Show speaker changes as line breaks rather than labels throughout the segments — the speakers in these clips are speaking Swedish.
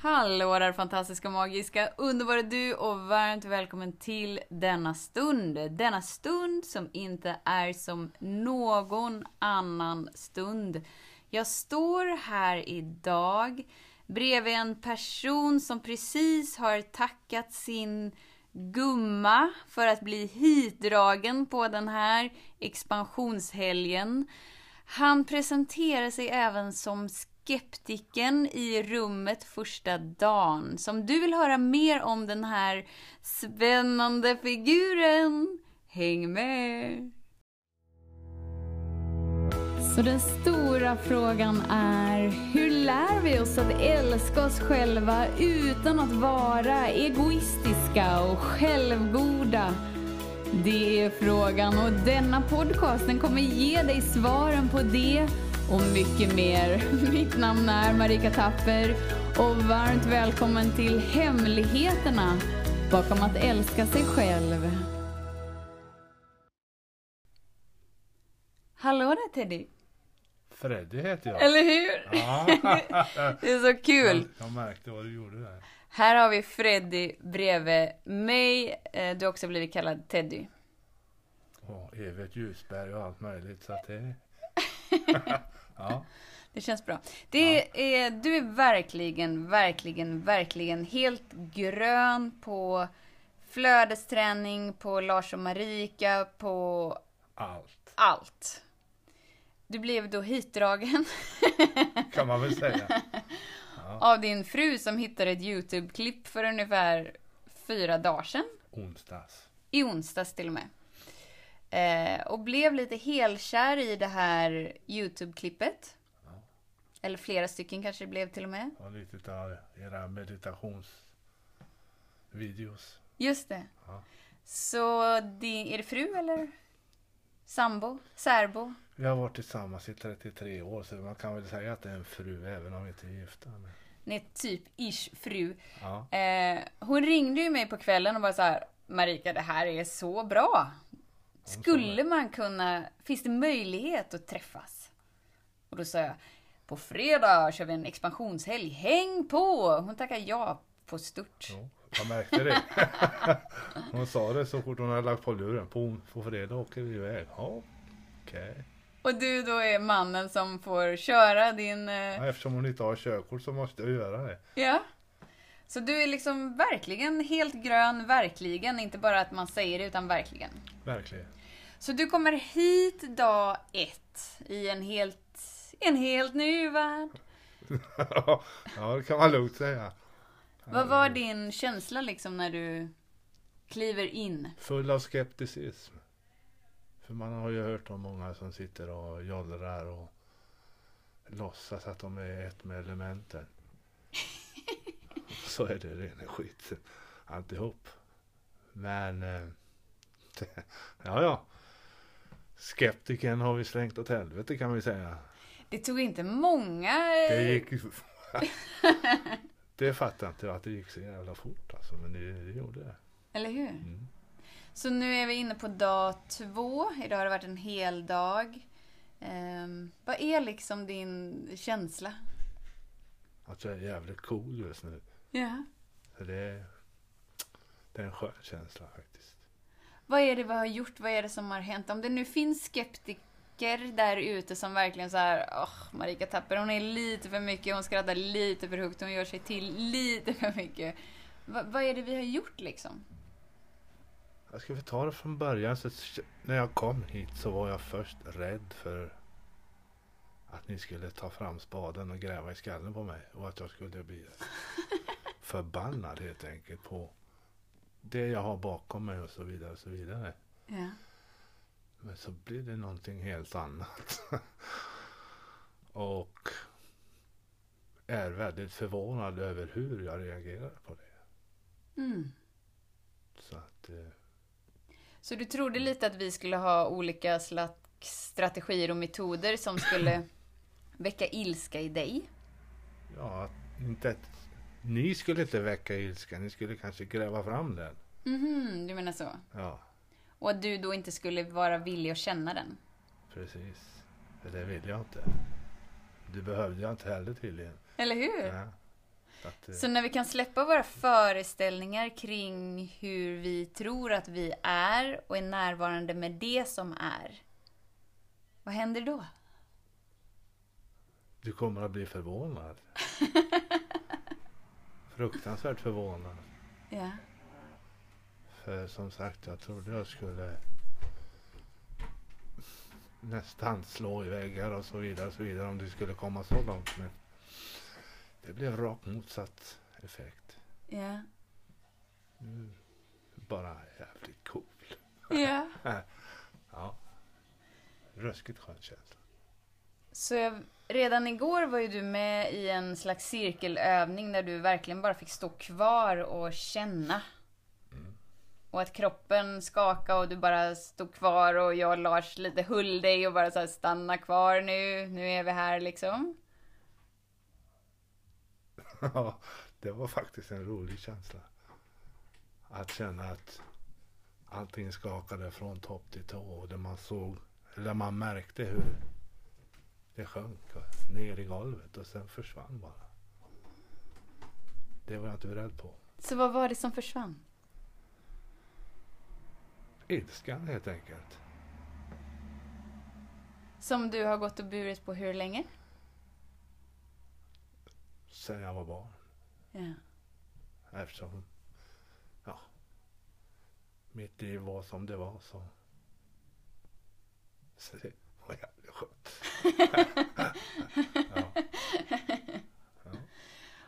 Hallå där fantastiska, magiska, underbara du och varmt välkommen till denna stund. Denna stund som inte är som någon annan stund. Jag står här idag bredvid en person som precis har tackat sin gumma för att bli hitdragen på den här expansionshelgen. Han presenterar sig även som skeptiken i rummet första dagen. Så om du vill höra mer om den här spännande figuren, häng med! Så den stora frågan är, hur lär vi oss att älska oss själva utan att vara egoistiska och självgoda? Det är frågan och denna podcast den kommer ge dig svaren på det och mycket mer. Mitt namn är Marika Tapper och varmt välkommen till Hemligheterna bakom att älska sig själv. Hallå där Teddy!
Freddy heter jag.
Eller hur?
Ja,
Det är så kul!
jag märkte vad du gjorde där.
Här har vi Freddy bredvid mig. Eh, Du har också blivit kallad Teddy.
Och Evert Ljusberg och allt möjligt. Så att det... ja,
Det känns bra. Det är, du är verkligen, verkligen, verkligen helt grön på flödesträning, på Lars och Marika, på
allt
allt. Du blev då hitdragen
kan man väl säga.
av din fru som hittade ett YouTube-klipp för ungefär fyra dagar sedan.
Onsdags.
I onsdags till och med. Eh, och blev lite helkär i det här YouTube-klippet. Eller flera stycken kanske det blev till och med.
Och lite av era meditationsvideos.
Just det.
Ja.
Så det, är det fru eller? Sambo? Särbo?
Vi har varit tillsammans i 33 år så man kan väl säga att det är en fru även om vi inte är gifta. Men...
Nej, typ ish fru.
Ja,
Eh, hon ringde ju mig på kvällen och bara så här, Marika det här är så bra. Skulle man kunna, finns det möjlighet att träffas? Och då sa jag, på fredag kör vi en expansionshelg, häng på! Hon tackade ja på stort.
jo, jag märkte det. hon sa det så fort hon hade lagt på luren. På, på fredag åker vi iväg. Ja, okej.
Och du då är mannen som får köra din... Eh,
Ja, eftersom hon inte har körkort så måste jag göra det.
Ja. Så du är liksom verkligen helt grön, verkligen. Inte bara att man säger det, utan verkligen.
Verkligen.
Så du kommer hit dag ett i en helt, en helt ny värld.
ja, det kan man lugnt säga.
Vad var din känsla liksom när du kliver in?
Full av skepticism. För man har ju hört om många som sitter och jollrar och låtsas att de är ett med elementen. Så är det rena skiten. Alltihop. Men... Eh, ja, ja. Skeptiken har vi slängt åt helvete kan vi säga.
Det tog inte många...
Det gick... ju- det fattar inte jag att det gick så jävla fort alltså. Men det, det gjorde det. Mm.
Eller hur? Så nu är vi inne på dag två. Idag har det varit en hel dag. Ehm, vad är liksom din känsla?
Att Alltså, jag är jävligt cool just nu.
Ja.
Så det, det är en skön känsla faktiskt.
Vad är det vi har gjort? Vad är det som har hänt? Om det nu finns skeptiker där ute som verkligen så här, åh, Marika Tapper, hon är lite för mycket, hon skrattar lite för högt, hon gör sig till lite för mycket. Va, vad är det vi har gjort liksom?
Jag ska väl ta det från början. Så när jag kom hit så var jag först rädd för att ni skulle ta fram spaden och gräva i skallen på mig. Och att jag skulle bli förbannad helt enkelt på det jag har bakom mig och så vidare och så vidare.
Ja.
Men så blir det någonting helt annat. och är väldigt förvånad över hur jag reagerar på det.
Mm.
Så att, eh,
Så du trodde lite att vi skulle ha olika slags strategier och metoder som skulle väcka ilska i dig?
ja, att inte att, ni skulle inte väcka ilska, ni skulle kanske gräva fram den.
Mhm, du menar så?
Ja,
Och att du då inte skulle vara villig att känna den?
precis. För det vill jag inte. Det behövde jag inte heller tydligen.
Mm. Eller hur?
Ja. Så att, eh,
Så när vi kan släppa våra föreställningar kring hur vi tror att vi är och är närvarande med det som är. Vad händer då?
Du kommer att bli förvånad. Fruktansvärt förvånad.
Ja.
För Eh, som sagt, jag trodde jag skulle nästan slå i väggar och så vidare och så vidare om det skulle komma så långt. Men det blev rakt motsatt effekt.
Ja.
Nu bara jävligt cool.
Ja.
Ja. Ruskigt skön känsla.
Så jag, redan igår var ju du med i en slags cirkelövning där du verkligen bara fick stå kvar och känna. Och att kroppen skakade och du bara stod kvar och jag och Lars lite höll dig och bara så här, stanna kvar nu, nu är vi här liksom.
Ja, det var faktiskt en rolig känsla. Att känna att allting skakade från topp till tå och det man såg, eller man märkte hur det sjönk va, ner i golvet och sen försvann bara. Det var jag inte beredd på.
Så vad var det som försvann?
Ilskan helt enkelt.
Som du har gått och burit på hur länge?
Sen jag var barn.
Ja.
Eftersom, ja, mitt liv var som det var så. Så det var jävligt skönt. ja.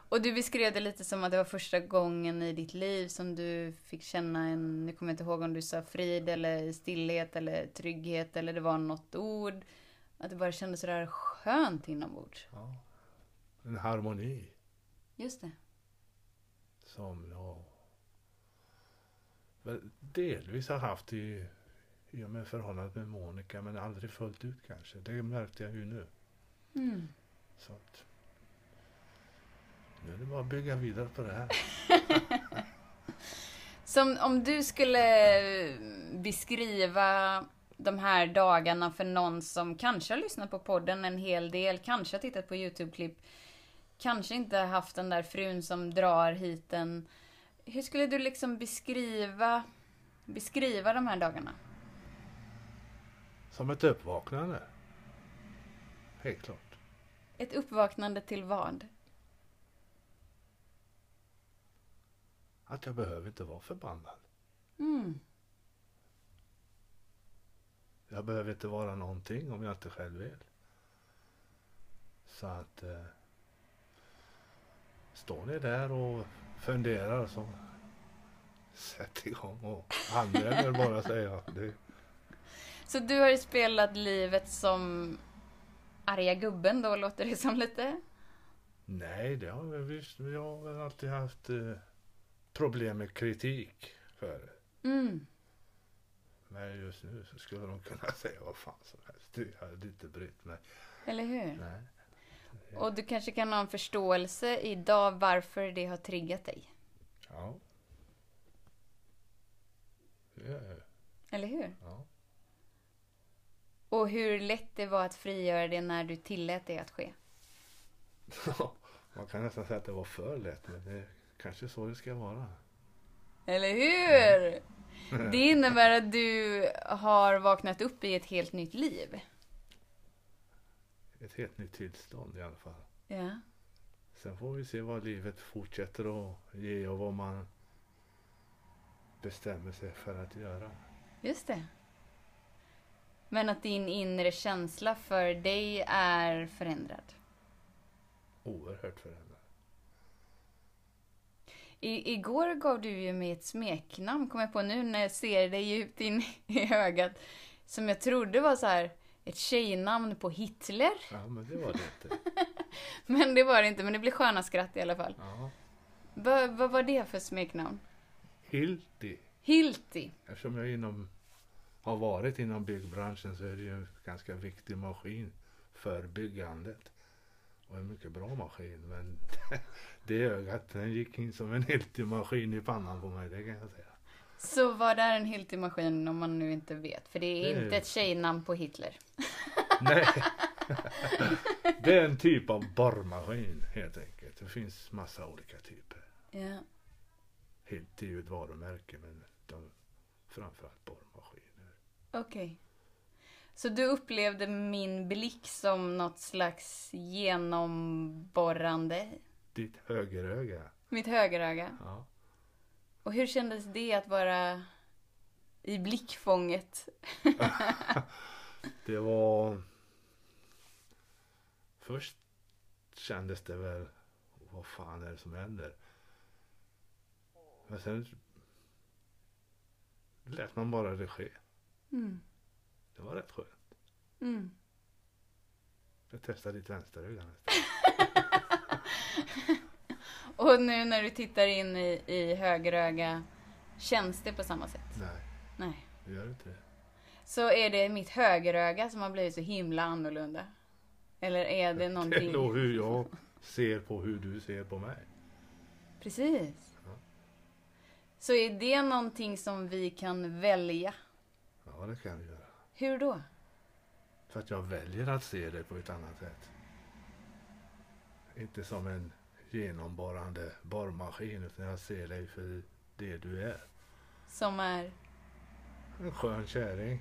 Och du beskrev det lite som att det var första gången i ditt liv som du fick känna en, nu kommer jag inte ihåg om du sa frid eller stillhet eller trygghet eller det var något ord. Att det bara kändes sådär skönt inombords.
ja. En harmoni
Just det.
som jag väl delvis har haft i, i och med förhållandet med Monica men aldrig fullt ut kanske. Det märkte jag ju nu.
Mm.
Så att, nu är det bara att bygga vidare på det här.
Som om du skulle eh, beskriva de här dagarna för någon som kanske har lyssnat på podden en hel del, kanske har tittat på YouTube-klipp, kanske inte har haft den där frun som drar hit en. Hur skulle du liksom beskriva, beskriva de här dagarna?
Som ett uppvaknande. Helt klart.
Ett uppvaknande till vad?
Att jag behöver inte vara förbannad.
Mm.
Jag behöver inte vara någonting om jag inte själv vill. Så att... Eh, står ni där och funderar så sätt igång och anmäl er bara säger jag. Det,
Så du har ju spelat livet som arga gubben då, låter det som lite?
nej, det har jag visst. Jag har väl alltid haft eh, problem med kritik förut.
Mm.
Men just nu så skulle de kunna säga vad fan som helst. Det hade inte brytt mig.
Eller hur?
Nej.
Och du kanske kan ha en förståelse idag varför det har triggat dig.
Ja. Det gör jag ju.
Eller hur?
Ja.
Och hur lätt det var att frigöra det när du tillät det att ske.
Man kan nästan säga att det var för lätt, men det är kanske så det ska vara.
Eller hur? Det innebär att du har vaknat upp i ett helt nytt liv.
Ett helt nytt tillstånd i alla fall.
Ja.
Sen får vi se vad livet fortsätter att ge och vad man bestämmer sig för att göra.
Just det. Men att din inre känsla för dig är förändrad.
Oerhört förändrat.
I, igår gav du ju mig ett smeknamn, kom jag på nu när jag ser dig djupt in i ögat. Som jag trodde var så här ett tjejnamn på Hitler.
Ja, men det var det inte.
Men det var det inte, men det blev sköna skratt i alla fall.
Ja.
Va- Vad var det för smeknamn?
Hilti.
Hilti.
Eftersom jag inom, har varit inom byggbranschen så är det ju en ganska viktig maskin för byggandet. Och en mycket bra maskin men det ögat den gick in som en helt maskin i pannan på mig, det kan jag säga.
Så vad är en Hilti-maskin om man nu inte vet? För det är
Det är-
inte ett tjejnamn på Hitler.
Nej. Det är en typ av borrmaskin helt enkelt. Det finns massa olika typer.
Ja.
Hilt är ju ett varumärke men de, framförallt borrmaskiner.
Okej. Så du upplevde min blick som något slags genomborrande?
Ditt högeröga.
Mitt högeröga.
Ja.
Och hur kändes det att vara i blickfånget?
Det var... Först kändes det väl, vad fan är det som händer? Men sen lät man bara det ske.
Mm.
Det var rätt skönt.
Mm.
Jag testade ditt vänsteröga nästan.
Och nu när du tittar in i, i högeröga, känns det på samma sätt?
Nej,
Nej.
det gör inte det.
Så är det mitt högeröga som har blivit så himla annorlunda? Eller är det
Det är
någonting?
nog hur jag ser på hur du ser på mig.
Precis.
Ja.
Så är det någonting som vi kan välja?
Ja, det kan du göra.
Hur då?
För att jag väljer att se det på ett annat sätt. Inte som en genomborrande borrmaskin utan jag ser dig för det du är.
Som är...
En skön kärring.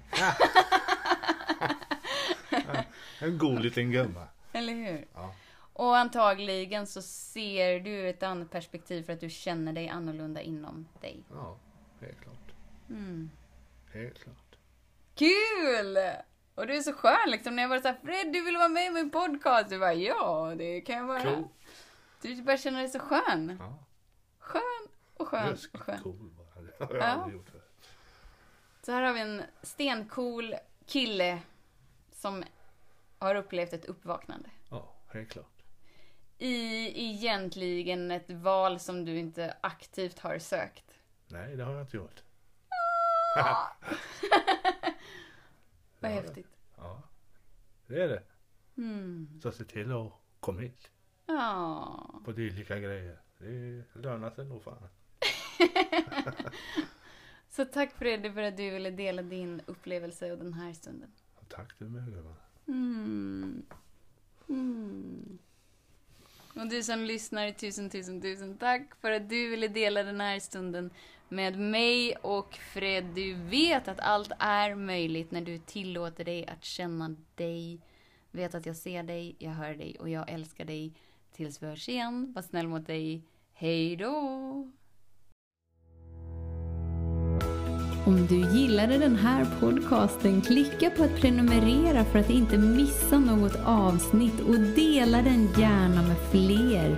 en god liten gumma.
Eller hur?
Ja.
Och antagligen så ser du ur ett annat perspektiv för att du känner dig annorlunda inom dig.
ja, helt klart.
Mm.
Helt klart.
Kul! Och du är så skön liksom. När jag var så här, Fred du vill vara med i min podcast. Du bara, ja det kan jag vara.
Cool.
Du bara känner dig så skön.
Ja.
Skön och skön och skön.
Ruskigt cool bara. Det har jag
Ja.
aldrig gjort förr.
Så här har vi en stencool kille som har upplevt ett uppvaknande.
Ja, helt klart.
I egentligen ett val som du inte aktivt har sökt.
Nej, det har jag inte gjort.
Vad
Ja.
häftigt.
Ja, det är det.
Mm.
Så se till att komma hit.
Ja.
på dylika grejer. Det lönar sig nog fan.
Så tack Freddy för att du ville dela din upplevelse och den här stunden.
Tack du med gumman.
Mm. Mm. Och du som lyssnar, tusen, tusen, tusen tack för att du ville dela den här stunden med mig och Fred. Du vet att allt är möjligt när du tillåter dig att känna dig. Vet att jag ser dig, jag hör dig och jag älskar dig. Tills vi hörs igen, var snäll mot dig. Hej då! Om du gillade den här podcasten, klicka på att prenumerera för att inte missa något avsnitt och dela den gärna med fler.